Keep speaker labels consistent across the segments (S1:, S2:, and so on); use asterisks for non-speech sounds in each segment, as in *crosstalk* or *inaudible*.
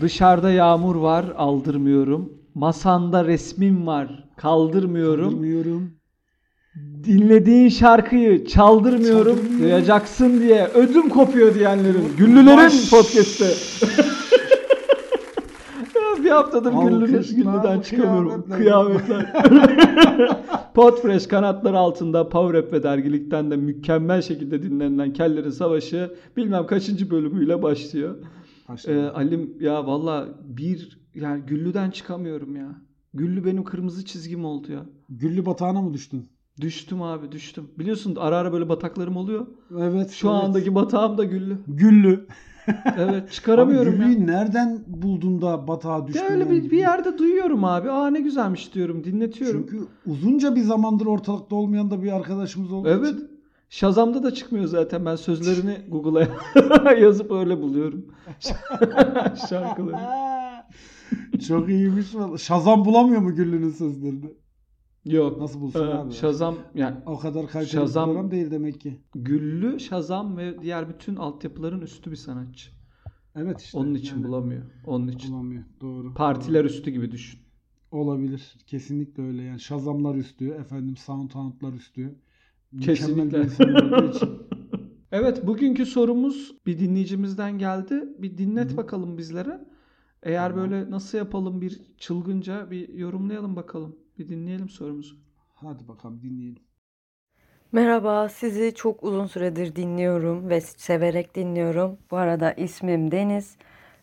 S1: Dışarıda yağmur var, aldırmıyorum. Masanda resmim var, kaldırmıyorum.
S2: Bilmiyorum.
S1: Dinlediğin şarkıyı çaldırmıyorum.
S2: Çaldırmıyorum.
S1: Duyacaksın diye ödüm kopuyor diyenlerin. Güllülerin
S2: Baş.
S1: podcast'te. Ya bir haftadır güllünün
S2: Alkışlar,
S1: güllüden çıkamıyorum.
S2: kıyametler.
S1: Kıyametler. Podfresh kanatları altında Power App ve dergilikten de mükemmel şekilde dinlenilen Kellerin Savaşı bilmem kaçıncı bölümüyle başlıyor. Ee,
S2: Başlayalım.
S1: Alim ya valla bir yani Güllü'den çıkamıyorum ya. Güllü benim kırmızı çizgim oldu ya.
S2: Güllü batağına mı düştün?
S1: Düştüm abi düştüm. Biliyorsun ara ara böyle bataklarım oluyor.
S2: Evet.
S1: Şu
S2: evet.
S1: andaki batağım da
S2: *laughs*
S1: Güllü.
S2: Güllü.
S1: Evet çıkaramıyorum
S2: Abi
S1: ya.
S2: Güllü'yü nereden buldun da batağa düştün?
S1: Ya öyle
S2: yani?
S1: bir, bir yerde duyuyorum abi. Aa ne güzelmiş diyorum dinletiyorum.
S2: Çünkü uzunca bir zamandır ortalıkta olmayan da bir arkadaşımız oldu.
S1: Evet. Şazam'da da çıkmıyor zaten. Ben sözlerini *laughs* Google'a *laughs* yazıp öyle buluyorum. *laughs* Şarkıları.
S2: *laughs* Çok iyiymiş. vallahi. Şazam bulamıyor mu Güllü'nün sözlerini?
S1: Yok.
S2: Nasıl bulsun
S1: Ee,
S2: abi?
S1: Şazam yani
S2: O kadar kaliteli
S1: Şazam-
S2: bir program değil demek ki.
S1: Güllü, Şazam ve diğer bütün altyapıların üstü bir sanatçı.
S2: Evet işte.
S1: Onun için
S2: yani
S1: bulamıyor. Onun için.
S2: bulamıyor. Doğru.
S1: Partiler üstü gibi düşün.
S2: Olabilir. Kesinlikle öyle. Yani Şazamlar üstü, efendim Soundhound'lar üstü.
S1: Kesinlikle.
S2: Mükemmel bir insan olduğu
S1: *laughs*
S2: *laughs* için.
S1: Evet bugünkü sorumuz bir dinleyicimizden geldi. Bir dinlet
S2: Hı hı.
S1: bakalım bizlere. Eğer
S2: Tamam.
S1: böyle nasıl yapalım bir çılgınca bir yorumlayalım bakalım. Bir dinleyelim sorumuzu.
S2: Hadi bakalım dinleyelim.
S3: Merhaba, sizi çok uzun süredir dinliyorum ve severek dinliyorum. Bu arada ismim Deniz.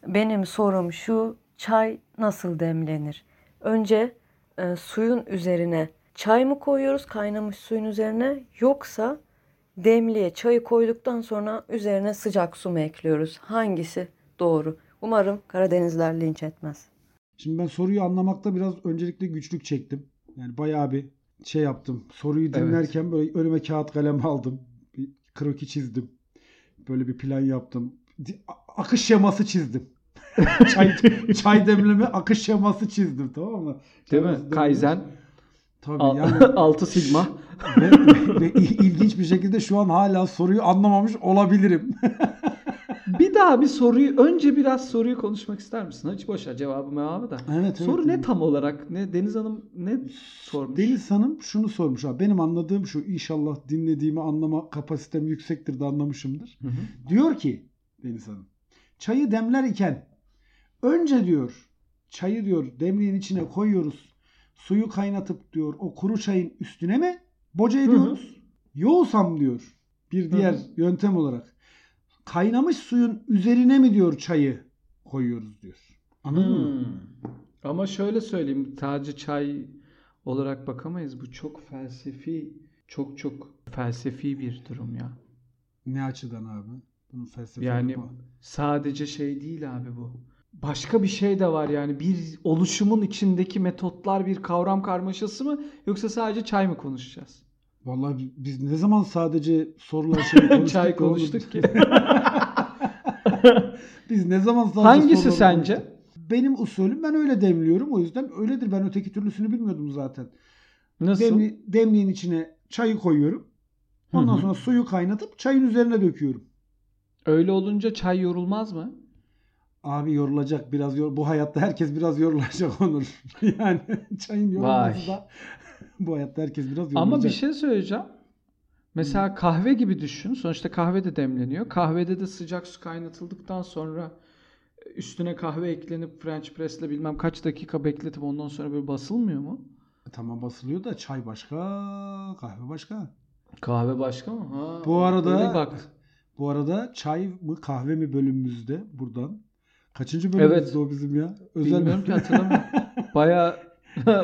S3: Benim sorum şu, çay nasıl demlenir? Önce e, suyun üzerine çay mı koyuyoruz kaynamış suyun üzerine yoksa demliğe çayı koyduktan sonra üzerine sıcak su mu ekliyoruz? Hangisi doğru? Umarım Karadenizler linç etmez.
S2: Şimdi ben soruyu anlamakta biraz öncelikle güçlük çektim. Yani bayağı bir şey yaptım. Soruyu
S1: Evet.
S2: dinlerken böyle önüme kağıt kalem aldım. Bir kroki çizdim. Böyle bir plan yaptım. Di- a- Akış
S1: *laughs*
S2: şeması çizdim. çay, çay demleme akış şeması çizdim tamam mı?
S1: Değil mi?
S2: Çay demleme-
S1: Kaizen.
S2: Tabii
S1: Al- *laughs*
S2: yani
S1: Altı sigma.
S2: ve, ve- ve il- ilginç bir şekilde şu an hala soruyu anlamamış olabilirim.
S1: bir daha bir soruyu önce biraz soruyu konuşmak ister misin? Hiç boşa cevabı mevabı da.
S2: evet,
S1: Soru
S2: evet.
S1: ne tam olarak? Ne Deniz Hanım ne sormuş?
S2: Deniz Hanım şunu sormuş abi. Benim anladığım şu. İnşallah dinlediğimi anlama kapasitem yüksektir de anlamışımdır.
S1: Hı hı.
S2: Diyor ki Deniz Hanım. Çayı demler iken önce diyor çayı diyor demliğin içine koyuyoruz. Suyu kaynatıp diyor o kuru çayın üstüne mi boca
S1: hı.
S2: ediyoruz? Yoğusam diyor bir
S1: hı.
S2: diğer yöntem olarak. Kaynamış suyun üzerine mi diyor çayı koyuyoruz diyor. Anladın mı?
S1: Hmm. Ama şöyle söyleyeyim. Sadece çay olarak bakamayız. Bu çok felsefi, çok çok felsefi bir durum ya.
S2: Ne açıdan abi? Bunun felsefesi
S1: Yani
S2: bu.
S1: sadece şey değil abi bu. Başka bir şey de var yani. Bir oluşumun içindeki metotlar bir kavram karmaşası mı yoksa sadece çay mı konuşacağız?
S2: Vallahi bi- biz ne zaman sadece
S1: *laughs*
S2: sorular şey konuştuk.
S1: çay
S2: oğlum?
S1: konuştuk ki.
S2: *laughs* Biz ne zaman sadece
S1: Hangisi
S2: soruları
S1: sence?
S2: konuştuk? Benim usulüm ben öyle demliyorum. O yüzden öyledir. Ben öteki türlüsünü bilmiyordum zaten.
S1: Nasıl?
S2: Demli, demliğin içine çayı koyuyorum. Ondan
S1: Hı hı.
S2: sonra suyu kaynatıp çayın üzerine döküyorum.
S1: Öyle olunca çay yorulmaz mı?
S2: Abi yorulacak biraz yor- bu hayatta herkes biraz yorulacak Onur. *laughs* yani çayın yorulması
S1: Vay.
S2: da *laughs* bu hayatta herkes biraz yorulacak.
S1: Ama bir şey söyleyeceğim. Mesela kahve gibi düşün. Sonuçta kahve de demleniyor. Kahvede de sıcak su kaynatıldıktan sonra e, üstüne kahve eklenip French press'le bilmem kaç dakika bekletip ondan sonra böyle basılmıyor mu?
S2: Tamam basılıyor da çay başka, kahve başka.
S1: Kahve başka mı? Ha,
S2: Bu arada-
S1: öyle bak.
S2: Bu arada çay mı kahve mi bölümümüzde buradan. Kaçıncı bölümümüzde
S1: Evet.
S2: o bizim ya?
S1: Bilmiyorum ki
S2: *laughs*
S1: hatırlamıyorum. *laughs* Baya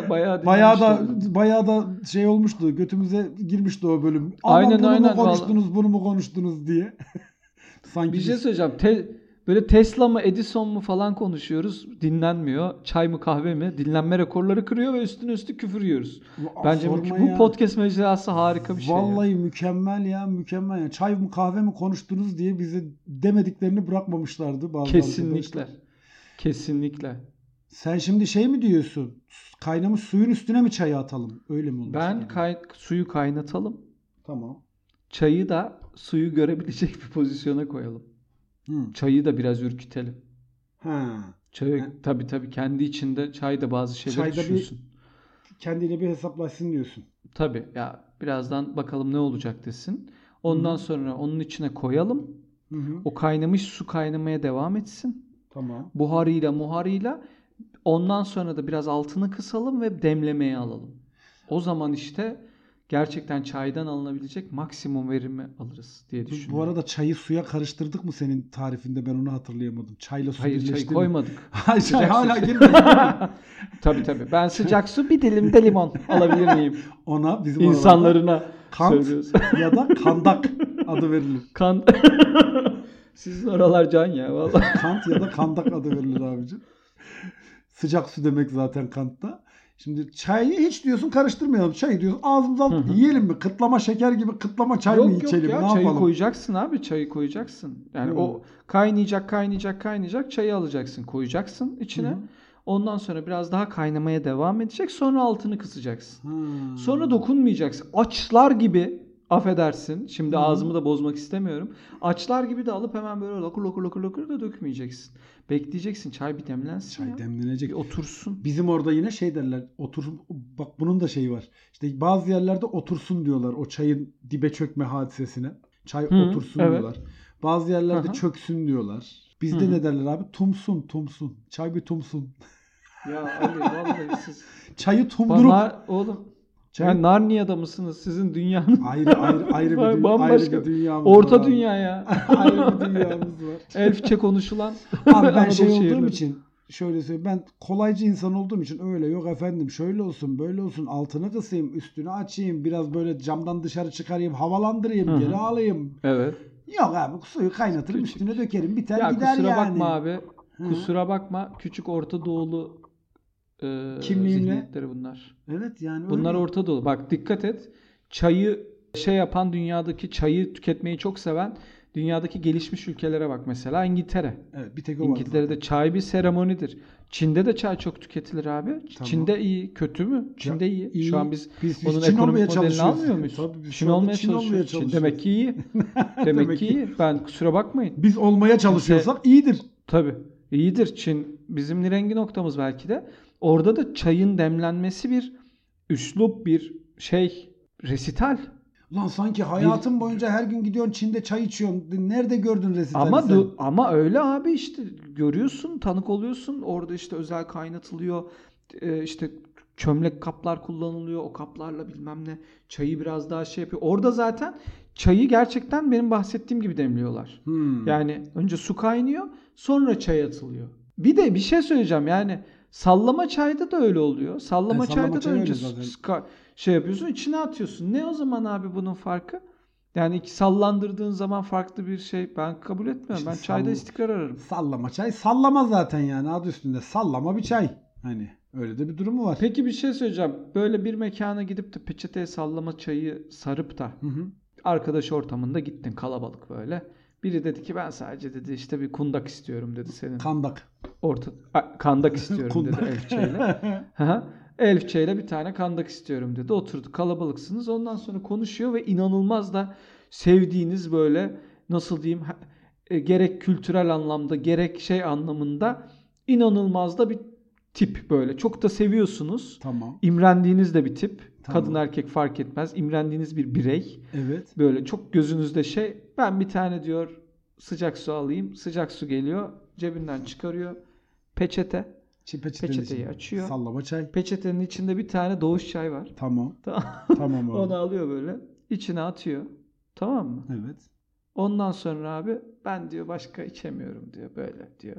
S1: baya
S2: Bayağı da
S1: dinlemiştim.
S2: bayağı da şey olmuştu. Götümüze girmişti o bölüm.
S1: Aynen,
S2: aynen bunu
S1: aynen,
S2: mu konuştunuz, bunu mu konuştunuz diye. *laughs* Sanki
S1: bir şey
S2: biz-
S1: söyleyeceğim. Te- böyle Tesla mı Edison mu falan konuşuyoruz. Dinlenmiyor. Çay mı kahve mi? Dinlenme rekorları kırıyor ve üstüne üstü küfür yiyoruz.
S2: Aa,
S1: Bence bu,
S2: sorma
S1: bu
S2: ya.
S1: podcast mecrası harika bir şey. ya.
S2: Vallahi mükemmel ya, mükemmel ya. Çay mı kahve mi konuştunuz diye bize demediklerini bırakmamışlardı bazı
S1: Kesinlikle.
S2: arkadaşlar.
S1: Kesinlikle.
S2: Sen şimdi şey mi diyorsun? Kaynamış suyun üstüne mi çayı atalım? Öyle mi olur?
S1: Ben kay- suyu kaynatalım.
S2: Tamam.
S1: Çayı da suyu *laughs* görebilecek bir pozisyona koyalım.
S2: Hı.
S1: Çayı da biraz ürkütelim.
S2: Ha.
S1: Çay,
S2: Ha.
S1: tabii tabii kendi içinde çayda bazı şeyler
S2: Çayda bir-
S1: düşünüyorsun.
S2: Kendiyle bir hesaplaşsın diyorsun.
S1: Tabii ya birazdan bakalım ne olacak desin. Ondan
S2: Hı.
S1: sonra onun içine koyalım.
S2: Hı hı.
S1: O kaynamış su kaynamaya devam etsin.
S2: Tamam.
S1: Buharıyla muharıyla ondan sonra da biraz altını kısalım ve demlemeye alalım. O zaman işte gerçekten çaydan alınabilecek maksimum verimi alırız diye
S2: Bu-
S1: düşünüyorum.
S2: Bu arada çayı suya karıştırdık mı senin tarifinde? Ben onu hatırlayamadım. Çayla su
S1: Hayır
S2: birleşti
S1: çay
S2: mi?
S1: koymadık.
S2: *laughs*
S1: *laughs*
S2: Hayır çay
S1: Sıcak
S2: hala
S1: su.
S2: girmedi.
S1: Tabii tabii. Ben sıcak su bir dilim de limon alabilir miyim?
S2: Ona bizim oralarda
S1: İnsanlarına
S2: kant
S1: söylüyorsun.
S2: ya
S1: *laughs*
S2: da kandak adı verilir.
S1: Kan. *laughs* Sizin oralar can ya vallahi.
S2: Kant ya da kandak adı verilir abicim. Sıcak su demek zaten kantta. Şimdi çayı hiç diyorsun karıştırmayalım. Çayı diyorsun ağzımıza
S1: Hı
S2: alıp
S1: hı.
S2: yiyelim mi? Kıtlama şeker gibi kıtlama çay mı
S1: yok yok
S2: içelim?
S1: ya
S2: ne
S1: çayı
S2: yapalım? Hmm.
S1: koyacaksın abi çayı koyacaksın. Yani
S2: Hı.
S1: o kaynayacak kaynayacak kaynayacak çayı alacaksın koyacaksın içine.
S2: Hı hı.
S1: Ondan sonra biraz daha kaynamaya devam edecek sonra altını kısacaksın.
S2: Ha.
S1: Sonra dokunmayacaksın. Açlar gibi affedersin. Şimdi
S2: Hı.
S1: ağzımı da bozmak istemiyorum. Açlar gibi de alıp hemen böyle lokur lokur lokur lokur da dökmeyeceksin. Bekleyeceksin çay bir demlensin
S2: Çay
S1: ya.
S2: demlenecek.
S1: Bir otursun.
S2: Bizim orada yine şey derler. Otur bak bunun da şeyi var. İşte bazı yerlerde otursun diyorlar o çayın dibe çökme hadisesine. Çay
S1: Hı,
S2: otursun
S1: evet.
S2: diyorlar. Bazı yerlerde
S1: Aha.
S2: çöksün diyorlar. Bizde
S1: Hı hı.
S2: ne derler abi? Tumsun, tumsun. Çay bir tumsun. *laughs*
S1: Ya Ali vallahi siz.
S2: Çayı tumdurup
S1: Nar, oğlum
S2: çayı-
S1: Yani Narnia'da mısınız? Sizin dünyanın
S2: Ayrı ayrı ayrı
S1: *laughs*
S2: bir, dünya, ayrı
S1: Bambaşka.
S2: bir dünyamız var.
S1: orta
S2: abi.
S1: dünya ya.
S2: *laughs* ayrı bir dünyamız var.
S1: Elfçe konuşulan. *laughs*
S2: Abi ben
S1: Anadolu
S2: şey olduğum
S1: şehirleri.
S2: için şöyle söyleyeyim ben kolaycı insan olduğum için öyle yok efendim şöyle olsun böyle olsun altını kısayım üstünü açayım biraz böyle camdan dışarı çıkarayım havalandırayım
S1: Hı hı.
S2: geri alayım.
S1: Evet.
S2: Yok abi suyu kaynatırım
S1: Küçük.
S2: üstüne dökerim biter
S1: Ya
S2: gider
S1: kusura
S2: yani.
S1: bakma abi.
S2: Hı.
S1: Kusura bakma. Küçük Orta Doğulu e,
S2: Kimliğinle?
S1: zihniyetleri bunlar.
S2: Evet yani
S1: Bunlar
S2: öyle.
S1: Orta Doğu. Bak dikkat et. Çayı şey yapan dünyadaki çayı tüketmeyi çok seven dünyadaki gelişmiş ülkelere bak mesela İngiltere.
S2: Evet, bir tek o var.
S1: İngiltere'de çay bir seremonidir. Çin'de de çay çok tüketilir abi. Çin'de iyi. Kötü mü? Çin'de iyi.
S2: iyi.
S1: Şu an biz
S2: biz
S1: Onun
S2: Çin olmaya
S1: ekonomik modelini
S2: çalışıyoruz.
S1: almıyor muyuz?
S2: Tabii
S1: Çin
S2: biz şu anda
S1: olmaya
S2: Çin olmaya
S1: çalışıyoruz. Çin
S2: çalışıyoruz.
S1: demek ki
S2: *laughs*
S1: iyi.
S2: Demek
S1: Demek ki
S2: ki.
S1: iyi. Ben kusura bakmayın.
S2: Biz olmaya çalışıyorsak iyidir.
S1: Tabii. iyidir Çin. Bizim nirengi noktamız belki de. Orada da çayın demlenmesi bir üslup, bir şey, resital.
S2: Ulan sanki hayatın boyunca her gün gidiyorsun Çin'de çay içiyorsun. Nerede gördün rezil
S1: Ama
S2: sen?
S1: du- ama öyle abi işte görüyorsun, tanık oluyorsun. Orada işte özel kaynatılıyor. Ee, işte çömlek kaplar kullanılıyor. O kaplarla bilmem ne çayı biraz daha şey yapıyor. Orada zaten çayı gerçekten benim bahsettiğim gibi demliyorlar.
S2: Hmm.
S1: Yani önce su kaynıyor, sonra çay atılıyor. Bir de bir şey söyleyeceğim yani sallama çayda da öyle oluyor. Sallama
S2: E, sallama
S1: çayda da
S2: çay
S1: önce
S2: öyle zaten.
S1: su- ka- şey yapıyorsun, içine atıyorsun. Ne o zaman abi bunun farkı? Yani iki sallandırdığın zaman farklı bir şey. Ben kabul etmiyorum.
S2: İşte
S1: ben çayda
S2: sall-
S1: istikrar ararım.
S2: Sallama çay. Sallama zaten yani adı üstünde. Sallama bir çay. Hani öyle de bir durumu var.
S1: Peki bir şey söyleyeceğim. Böyle bir mekana gidip de peçeteye sallama çayı sarıp da
S2: Hı hı.
S1: arkadaş ortamında gittin kalabalık böyle. Biri dedi ki ben sadece dedi işte bir kundak istiyorum dedi senin.
S2: Kandak.
S1: orta a-
S2: *laughs*
S1: kandak istiyorum dedi
S2: Kundak.
S1: Elfçe'yle. Aha. Elfçe'yle bir tane kandak istiyorum dedi. Oturduk kalabalıksınız. Ondan sonra konuşuyor ve inanılmaz da sevdiğiniz böyle nasıl diyeyim ha- e, gerek kültürel anlamda gerek şey anlamında inanılmaz da bir tip böyle. Çok da seviyorsunuz.
S2: *laughs* tamam.
S1: İmrendiğiniz de bir tip.
S2: Tamam.
S1: Kadın erkek fark etmez. İmrendiğiniz bir birey.
S2: Evet.
S1: Böyle çok gözünüzde şey ben bir tane diyor sıcak su alayım. Sıcak su geliyor. Cebinden çıkarıyor. Peçete.
S2: Çi-
S1: Peçeteyi
S2: içinde.
S1: açıyor.
S2: Sallama çay.
S1: Peçetenin içinde bir tane doğuş çay var. *laughs*
S2: Tamam.
S1: Tamam. *laughs*
S2: Tamam abi.
S1: Onu alıyor böyle. içine atıyor. Tamam mı?
S2: Evet.
S1: Ondan sonra abi ben diyor başka içemiyorum diyor böyle diyor.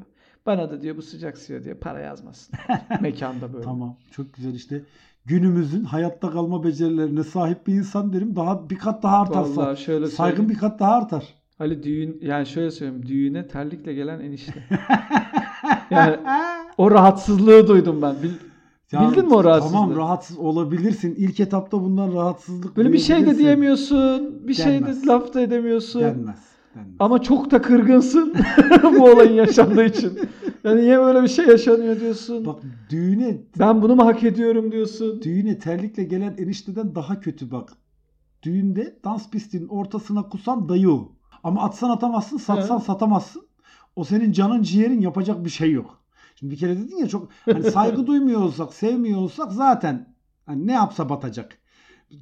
S1: Bana da diyor bu sıcak suya diyor para
S2: *laughs*
S1: yazmasın. Mekanda böyle.
S2: Tamam. Çok güzel işte. Günümüzün hayatta kalma becerilerine sahip bir insan derim. Daha bir kat daha artarsa.
S1: Vallahi şöyle
S2: Saygın
S1: söyleyeyim.
S2: bir kat daha artar.
S1: Ali düğün yani şöyle söyleyeyim düğüne terlikle gelen
S2: *laughs*
S1: enişte. yani o rahatsızlığı duydum ben. Bil- Bildin mi o rahatsızlığı?
S2: Tamam rahatsız olabilirsin. İlk etapta bundan rahatsızlık
S1: Böyle bir şey de
S2: duyabilirsin.
S1: diyemiyorsun. Bir şey
S2: Gelmez.
S1: de laf da edemiyorsun.
S2: Denmez. denmez.
S1: Ama çok da kırgınsın *laughs* bu olayın yaşandığı için. Yani niye böyle bir şey yaşanıyor diyorsun.
S2: Bak düğüne
S1: ben bunu mu hak ediyorum diyorsun.
S2: Düğüne terlikle gelen enişteden daha kötü bak. Düğünde dans pistinin ortasına kusan dayı o. Ama atsan atamazsın, satsan
S1: He.
S2: satamazsın. O senin canın ciğerin yapacak bir şey yok. Şimdi bir kere dedin ya çok hani saygı duymuyor olsak, sevmiyor olsak zaten hani ne yapsa batacak.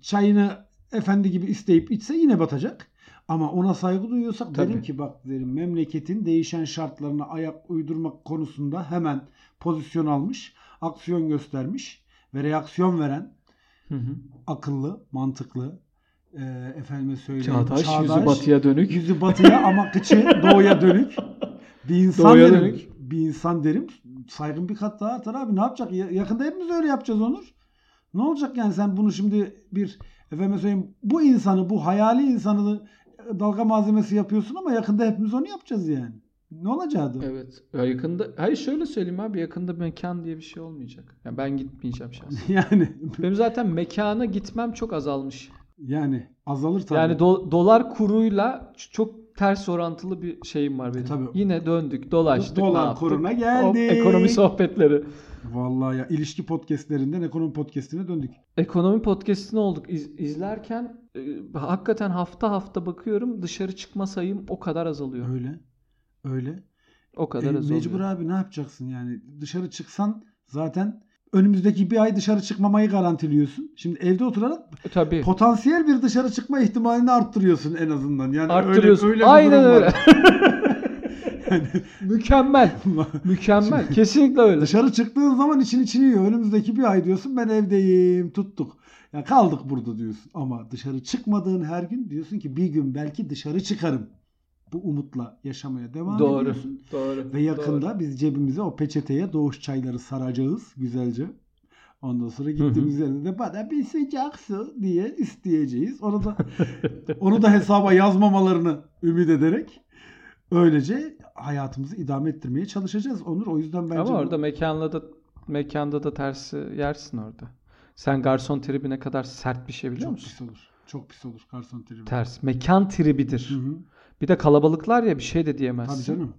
S2: Çayını efendi gibi isteyip içse yine batacak. Ama ona saygı duyuyorsak
S1: Tabii.
S2: derim ki bak derim memleketin değişen şartlarına ayak uydurmak konusunda hemen pozisyon almış, aksiyon göstermiş ve reaksiyon veren
S1: Hı hı.
S2: akıllı, mantıklı, e, efendime söyleyeyim
S1: Çağdaş, yüzü batıya dönük.
S2: yüzü batıya ama kıçı doğuya dönük bir insan
S1: Doğuya
S2: derim.
S1: dönük.
S2: Bir insan derim. Saygın bir kat daha artar abi. Ne yapacak? Ya- Yakında hepimiz öyle yapacağız Onur. Ne olacak yani sen bunu şimdi bir efendim söyleyeyim bu insanı bu hayali insanı e, dalga malzemesi yapıyorsun ama yakında hepimiz onu yapacağız yani. Ne olacağı da.
S1: Evet. Ya yakında hayır şöyle söyleyeyim abi yakında mekan diye bir şey olmayacak. Yani ben gitmeyeceğim
S2: *laughs*
S1: şahsen.
S2: *laughs* Yani
S1: Benim zaten mekana gitmem çok azalmış.
S2: yani azalır tabii.
S1: Yani do- dolar kuruyla ç- çok ters orantılı bir şeyim var benim.
S2: E, Tabii.
S1: Yine döndük, dolaştık. ne
S2: dolar
S1: yaptık?
S2: kuruna
S1: Hop,
S2: geldi.
S1: ekonomi sohbetleri.
S2: Vallahi ya ilişki podcastlerinden ekonomi podcastine döndük.
S1: Ekonomi podcast'ine olduk. İz- izlerken e, hakikaten hafta hafta bakıyorum dışarı çıkma sayım o kadar azalıyor.
S2: Öyle. Öyle.
S1: O
S2: E,
S1: kadar azalıyor.
S2: mecbur abi ne yapacaksın yani dışarı çıksan zaten önümüzdeki bir ay dışarı çıkmamayı garantiliyorsun. Şimdi evde oturarak
S1: E, Tabii.
S2: potansiyel bir dışarı çıkma ihtimalini arttırıyorsun en azından. Yani
S1: Arttırıyorsun.
S2: Öyle, öyle bir
S1: Aynen
S2: durum
S1: öyle. *laughs*
S2: var. *laughs* Yani
S1: Mükemmel. Mükemmel. Kesinlikle öyle.
S2: dışarı çıktığın zaman için içini yiyor. Önümüzdeki bir ay diyorsun ben evdeyim tuttuk. Ya kaldık burada diyorsun. Ama dışarı çıkmadığın her gün diyorsun ki bir gün belki dışarı çıkarım. Bu umutla yaşamaya devam
S1: Doğru.
S2: ediyorsun.
S1: Doğru.
S2: Ve yakında biz cebimize o peçeteye doğuş çayları saracağız güzelce. Ondan sonra gittiğimiz yerde de bana bir sıcak su diye isteyeceğiz. Onu da, *laughs* onu da hesaba yazmamalarını ümit ederek öylece hayatımızı idame ettirmeye çalışacağız. Onur o yüzden bence
S1: Ama
S2: bu-
S1: orada mekanla da mekanda da tersi yersin orada. Sen garson tribi ne kadar sert bir şey biliyor
S2: çok
S1: musun?
S2: pis olur. Çok pis olur garson tribi.
S1: Ters. Mekan tribidir.
S2: Hı hı.
S1: Bir de kalabalıklar ya bir şey de diyemezsin.
S2: Tabii canım.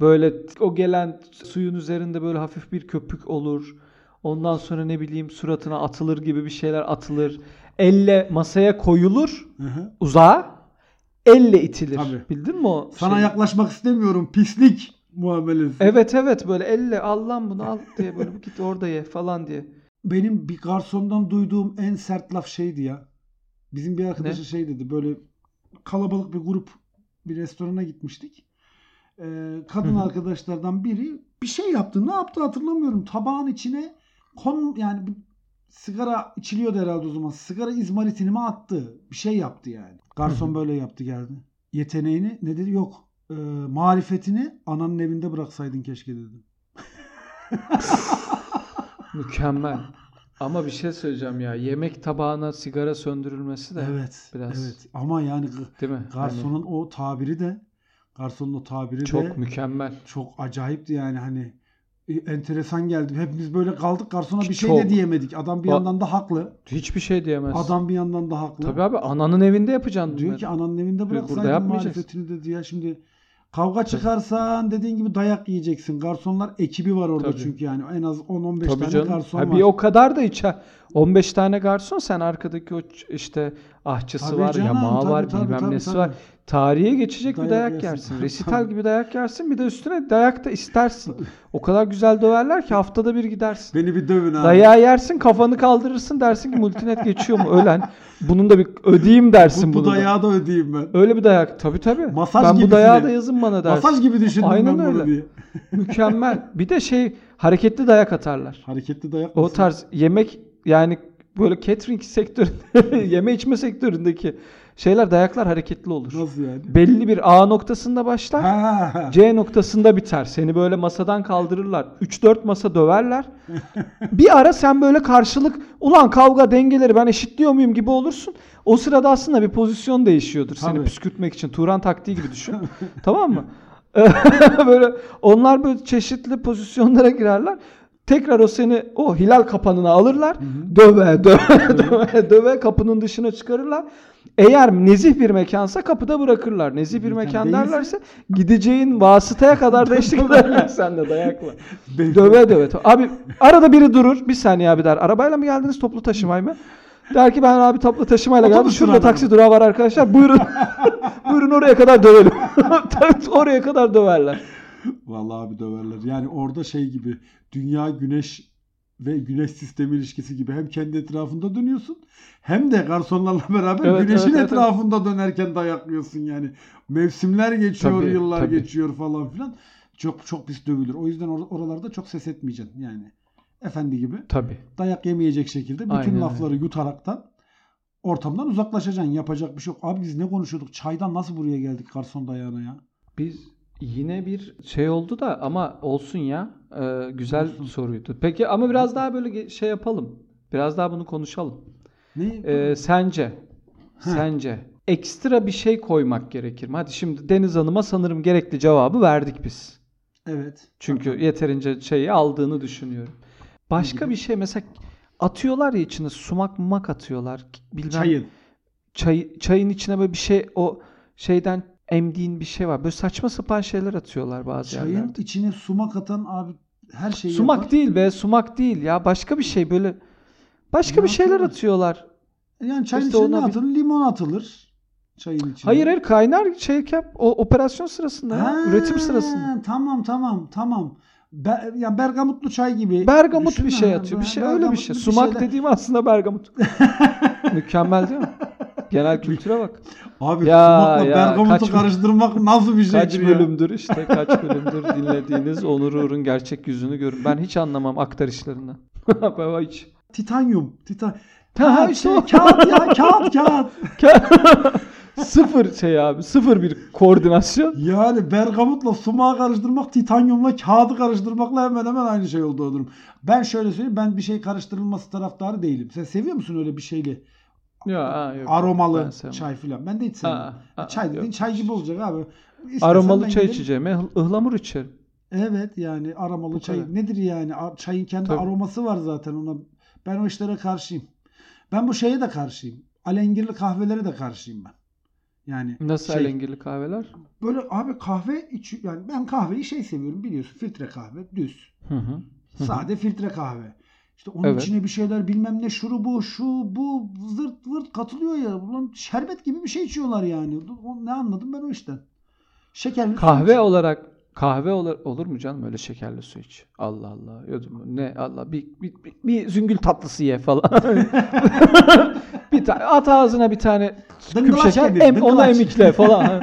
S1: Böyle t- o gelen t- suyun üzerinde böyle hafif bir köpük olur. Ondan sonra ne bileyim suratına atılır gibi bir şeyler atılır. Elle masaya koyulur
S2: Hı hı.
S1: uzağa. Elle itilir.
S2: Tabii.
S1: Bildin mi o
S2: Sana
S1: şeyi?
S2: yaklaşmak istemiyorum pislik muamelesi.
S1: Evet evet böyle elle al lan bunu al diye böyle git orada ye falan diye.
S2: Benim bir garsondan duyduğum en sert laf şeydi ya. Bizim bir arkadaşı
S1: Ne?
S2: şey dedi böyle kalabalık bir grup bir restorana gitmiştik. Ee, kadın
S1: Hı hı.
S2: arkadaşlardan biri bir şey yaptı. Ne yaptı hatırlamıyorum. Tabağın içine kon yani bir sigara içiliyordu herhalde o zaman. Sigara izmaritini mi attı? Bir şey yaptı yani.
S1: Hı
S2: Garson
S1: hı.
S2: böyle yaptı geldi. Yeteneğini ne dedi? Yok. Ee, marifetini ananın evinde bıraksaydın keşke dedi.
S1: Mükemmel. Ama bir şey söyleyeceğim ya. Yemek tabağına sigara söndürülmesi de
S2: Evet.
S1: biraz-
S2: Evet. Ama yani gı-
S1: değil mi? Hani
S2: Garsonun o tabiri de garsonun o tabiri de
S1: çok mükemmel.
S2: çok acayipti yani hani e, enteresan geldi. Hepimiz böyle kaldık garsona bir şey de
S1: Çok.
S2: diyemedik. Adam bir
S1: Ba-
S2: yandan da haklı.
S1: Hiçbir şey diyemez.
S2: Adam bir yandan da haklı.
S1: Tabii abi ananın evinde yapacaksın
S2: Diyor
S1: bunları.
S2: ki ananın evinde bıraksaydın
S1: yapmayacaksın.
S2: marifetini dedi ya şimdi kavga çıkarsan dediğin gibi dayak yiyeceksin. Garsonlar ekibi var orada
S1: Tabii.
S2: çünkü yani en az 10-15
S1: Tabii
S2: tane
S1: canım.
S2: garson
S1: ha,
S2: var.
S1: bir o kadar da içe 15 tane garson sen arkadaki o ç- işte ahçısı
S2: Tabii
S1: var,
S2: canım,
S1: yamağı
S2: tabii,
S1: var,
S2: tabii,
S1: bilmem
S2: tabii,
S1: nesi
S2: tabii.
S1: var. Tarihe geçecek bir
S2: Dayak
S1: dayak
S2: yersin.
S1: yersin.
S2: Tabii. *laughs*
S1: Resital gibi dayak yersin. Bir de üstüne dayak da istersin. O kadar güzel döverler ki haftada bir gidersin.
S2: Beni bir dövün abi.
S1: Dayağı yersin kafanı kaldırırsın dersin ki multinet geçiyor mu ölen. Bunun da bir ödeyeyim dersin
S2: bu, bu
S1: bunu da.
S2: dayağı da ödeyeyim ben.
S1: Öyle bir dayak. Tabii tabii.
S2: Masaj
S1: ben bu
S2: gibisine.
S1: dayağı da yazın bana dersin.
S2: Masaj gibi düşündüm
S1: Aynen
S2: ben bunu
S1: öyle.
S2: diye.
S1: Mükemmel. Bir de şey hareketli dayak atarlar.
S2: Hareketli dayak
S1: O
S2: nasıl?
S1: tarz yemek yani böyle catering sektöründe *laughs* yeme içme sektöründeki şeyler dayaklar hareketli olur.
S2: Nasıl
S1: *laughs*
S2: yani?
S1: Belli bir A noktasında başlar.
S2: Ha.
S1: C noktasında biter. Seni böyle masadan kaldırırlar. 3-4 masa döverler. *laughs* Bir ara sen böyle karşılık ulan kavga dengeleri ben eşitliyor muyum gibi olursun. O sırada aslında bir pozisyon değişiyordur.
S2: Tabii.
S1: Seni püskürtmek için. Turan taktiği gibi düşün. *laughs* tamam mı? böyle onlar böyle çeşitli pozisyonlara girerler. Tekrar o seni o hilal kapanına alırlar. Döve *laughs* döve döve döve kapının dışına çıkarırlar. Eğer nezih bir mekansa kapıda bırakırlar. Nezih bir
S2: Mekan
S1: mekan
S2: değilse-
S1: derlerse gideceğin vasıtaya
S2: *laughs*
S1: kadar da eşlik ederler senle dayakla.
S2: Be-
S1: Döve döve. Abi arada biri durur. Bir saniye abi der. Arabayla mı geldiniz toplu taşımay mı? Der ki ben abi toplu taşımayla geldim.
S2: Otobüs
S1: Şurada
S2: durağı
S1: taksi durağı var *laughs*
S2: *laughs*
S1: arkadaşlar. Buyurun. Buyurun oraya kadar dövelim. Tabii oraya kadar döverler.
S2: Vallahi abi döverler. Yani orada şey gibi dünya güneş ve güneş sistemi ilişkisi gibi hem kendi etrafında dönüyorsun hem de garsonlarla beraber
S1: Evet,
S2: güneşin
S1: evet, evet,
S2: etrafında dönerken dayaklıyorsun yani. Mevsimler geçiyor,
S1: Tabii,
S2: yıllar
S1: tabii.
S2: geçiyor falan filan. Çok çok pis dövülür. O yüzden or- oralarda çok ses etmeyeceksin yani. Efendi gibi
S1: Tabii.
S2: dayak yemeyecek şekilde bütün
S1: Aynen öyle.
S2: lafları yutaraktan ortamdan uzaklaşacaksın. Yapacak bir şey yok. Abi biz ne konuşuyorduk? Çaydan nasıl buraya geldik garson dayağına ya?
S1: Biz yine bir şey oldu da ama olsun ya. Ee, güzel
S2: Olsun.
S1: soruydu. Peki ama biraz daha böyle ge- şey yapalım. Biraz daha bunu konuşalım.
S2: Ne?
S1: Ee, sence sence ekstra bir şey koymak gerekir mi? Hadi şimdi Deniz Hanım'a sanırım gerekli cevabı verdik biz.
S2: evet.
S1: Çünkü yeterince şeyi aldığını düşünüyorum. Başka
S2: gibi?
S1: bir şey mesela atıyorlar ya içine sumak mumak atıyorlar. Bilmem
S2: Çayın.
S1: çay, çayın içine böyle bir şey o şeyden emdiğin bir şey var. Böyle saçma sapan şeyler atıyorlar bazı
S2: Çayın
S1: yerlerde.
S2: içine sumak atan abi her şeyi
S1: Sumak
S2: yapar.
S1: değil be, sumak değil ya. Başka bir şey böyle başka
S2: Ne
S1: bir şeyler
S2: atıyorlar?
S1: atıyorlar.
S2: Yani çayın
S1: İşte
S2: içine ne
S1: ona bir-
S2: atılır? Limon atılır. Çayın içine.
S1: Hayır hayır kaynar şeyken o operasyon sırasında ya,
S2: Ha,
S1: üretim sırasında.
S2: Tamam tamam tamam. Be- ya bergamutlu çay gibi.
S1: Bergamut
S2: düşünme.
S1: bir şey atıyor. Bir
S2: Ha,
S1: şey öyle bir
S2: bergamutlu
S1: şey. Sumak
S2: şeyler.
S1: dediğim aslında
S2: *laughs*
S1: bergamut. Mükemmel değil mi? Genel kültüre bak.
S2: Abi
S1: Ya,
S2: sumakla
S1: ya,
S2: bergamutu
S1: kaç-
S2: karıştırmak nasıl bir şeydir
S1: Kaç
S2: ya?
S1: bölümdür işte kaç bölümdür dinlediğiniz Onur Uğur'un gerçek yüzünü görün. Ben hiç anlamam aktar *laughs* işlerinden. ben hiç.
S2: Titanyum. Titan...
S1: Ha,
S2: Ha,
S1: işte
S2: şey,
S1: o.
S2: kağıt ya kağıt kağıt.
S1: sıfır şey abi sıfır bir
S2: *laughs*
S1: koordinasyon.
S2: Yani bergamutla sumağı karıştırmak, titanyumla kağıdı karıştırmakla hemen hemen aynı şey oldu o durum. Ben şöyle söyleyeyim ben bir şey karıştırılması taraftarı değilim. Sen seviyor musun öyle bir şeyli
S1: Ya, ha, yok. Ben
S2: aromalı
S1: sevmem.
S2: çay filan? Ben de hiç sevmem.
S1: Ha, ha,
S2: çay dediğin
S1: yok.
S2: çay gibi olacak abi. İstersen
S1: Aromalı
S2: ben
S1: çay
S2: giderim.
S1: içeceğime ıh- ıhlamur içerim.
S2: Evet yani aromalı
S1: Bu
S2: çay
S1: kadar.
S2: nedir yani? A- Çayın kendi
S1: Tabii.
S2: aroması var zaten ona. Ben o işlere karşıyım. Ben bu şeye de karşıyım. Alengirli kahvelere de karşıyım ben. Yani
S1: Nasıl
S2: şey-
S1: alengirli kahveler?
S2: böyle abi kahve içi yani ben kahveyi şey seviyorum biliyorsun filtre kahve düz.
S1: Hı hı. Hı hı.
S2: Sade filtre kahve. İşte onun
S1: Evet.
S2: içine bir şeyler bilmem ne şurubu şu bu zırt vırt katılıyor ya. Ulan şerbet gibi bir şey içiyorlar yani. O- Ne anladım ben o işten. Şekerli su
S1: Kahve
S2: içiyor.
S1: olarak kahve olur, olur mu canım öyle şekerli su iç. Allah Allah. Yudum. Ne Allah bir, bir, bir, bir züngül tatlısı ye falan. bir tane at ağzına bir tane küp
S2: Dıngılaç
S1: şeker
S2: gibi,
S1: em, onu
S2: dıngılaç.
S1: emikle falan.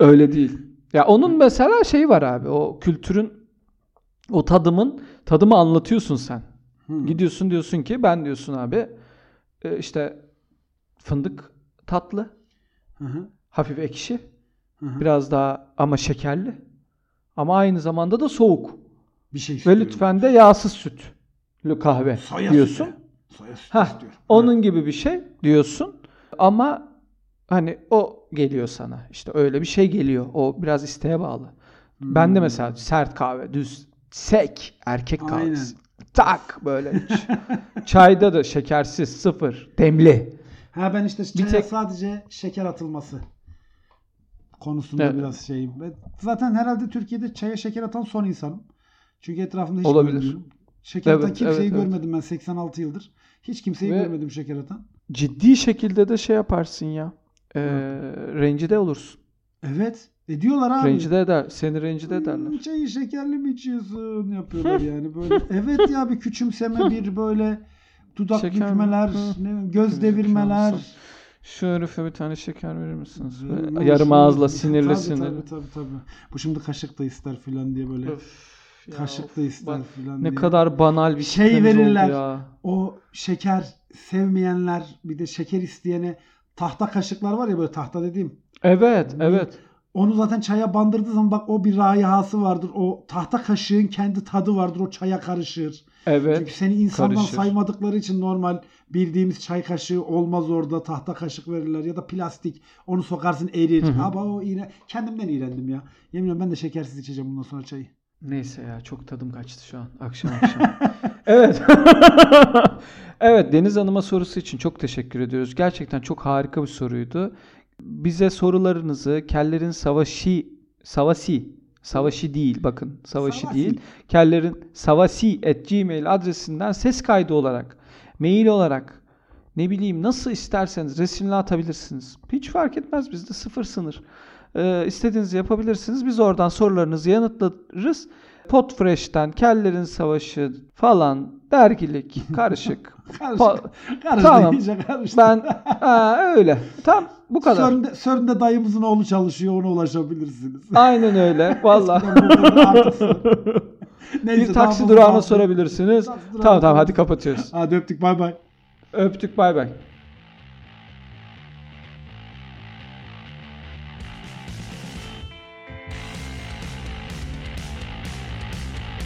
S1: öyle değil. Ya onun mesela şeyi var abi. O kültürün o tadımın tadımı anlatıyorsun sen.
S2: Hı.
S1: Gidiyorsun diyorsun ki ben diyorsun abi e, işte fındık tatlı,
S2: Hı hı,
S1: hafif ekşi.
S2: hı hı.
S1: Biraz daha ama şekerli. Ama aynı zamanda da soğuk.
S2: Bir şey
S1: Ve
S2: istiyorum.
S1: lütfen de yağsız sütlü kahve
S2: Soya
S1: diyorsun.
S2: sütü. Soya sütü
S1: Hah,
S2: istiyorum.
S1: Onun gibi bir şey diyorsun. Ama hani o geliyor sana. İşte öyle bir şey geliyor. O biraz isteğe bağlı.
S2: Hmm.
S1: Ben de mesela sert kahve, düz, sek erkek
S2: Aynen.
S1: kahvesi. Tak böyle
S2: *laughs*
S1: iç. Çayda da şekersiz, sıfır, demli.
S2: Ha ben işte
S1: Bir
S2: çaya
S1: tek-
S2: sadece şeker atılması konusunda
S1: Evet.
S2: biraz şeyim. Ve zaten herhalde Türkiye'de çaya şeker atan son insanım. Çünkü etrafımda hiç
S1: Olabilir.
S2: görmüyorum. Şeker atan
S1: Evet,
S2: kimseyi
S1: evet, evet.
S2: görmedim ben 86 yıldır. Hiç kimseyi
S1: Ve-
S2: görmedim şeker atan.
S1: Ciddi şekilde de şey yaparsın ya. Ee, rencide olursun.
S2: Evet. E diyorlar abi.
S1: Rencide eder. Seni rencide
S2: "Hmm,
S1: ederler.
S2: Çayı şekerli mi içiyorsun
S1: *laughs*
S2: yapıyorlar yani böyle. Evet ya bir küçümseme bir böyle dudak
S1: Şeker mi?
S2: bükmeler,
S1: Hı.
S2: ne bileyim, göz
S1: Gözük
S2: devirmeler.
S1: yansın. Şu herife bir tane şeker verir misiniz? Böyle
S2: Böyle
S1: yarım
S2: şöyle-
S1: ağızla sinirli
S2: tabii,
S1: sinirli.
S2: Tabii tabii tabii. Bu şimdi kaşık da ister filan diye böyle.
S1: Öf, ya
S2: kaşık da
S1: of,
S2: ister
S1: bak
S2: filan
S1: Ne
S2: diye.
S1: kadar banal bir
S2: Şey
S1: şey verirler.
S2: verirler.
S1: oldu ya.
S2: O şeker sevmeyenler bir de şeker isteyene tahta kaşıklar var ya böyle tahta dediğim.
S1: Evet, evet.
S2: Onu zaten çaya bandırdığı zaman bak o bir rayihası vardır. O tahta kaşığın kendi tadı vardır. O çaya karışır. Çünkü
S1: Evet.
S2: seni insandan
S1: karışır.
S2: saymadıkları için normal bildiğimiz çay kaşığı olmaz orada. Tahta kaşık verirler ya da plastik. Onu sokarsın erir.
S1: Hı hı.
S2: Ama o iğren... Kendimden iğrendim ya. Yemin ediyorum ben de şekersiz içeceğim bundan sonra çayı.
S1: Neyse ya çok tadım kaçtı şu an. *laughs* Akşam akşam. evet. *laughs* evet Deniz Hanım'a sorusu için çok teşekkür ediyoruz. Gerçekten çok harika bir soruydu. Bize sorularınızı kellerin savaşı savasi savaşı değil bakın savaşı
S2: Savasi.
S1: değil kellerin savasi at gmail adresinden ses kaydı olarak mail olarak ne bileyim nasıl isterseniz resimle atabilirsiniz. Hiç fark etmez bizde sıfır sınır. Ee, istediğinizi yapabilirsiniz. Biz oradan sorularınızı yanıtlarız. Potfresh'ten, Kellerin Savaşı falan, dergilik,
S2: *laughs*
S1: karışık.
S2: Karışık.
S1: Pa-
S2: *laughs* karıştı,
S1: Tamam.
S2: iyice karıştı.
S1: ben ha, öyle. Tam bu kadar.
S2: Sörn'de, Sörn'de dayımızın oğlu çalışıyor ona
S1: *laughs*
S2: ulaşabilirsiniz.
S1: Aynen
S2: *laughs*
S1: öyle. Valla.
S2: Eskiden bu kadar artısı. Neyse,
S1: Bir taksi
S2: daha
S1: durağına
S2: fazla-
S1: sorabilirsiniz.
S2: Taksi
S1: Tamam tamam
S2: durağına *laughs* sorabilirsiniz.
S1: hadi kapatıyoruz.
S2: Hadi öptük bay bay.
S1: Öptük bay bay.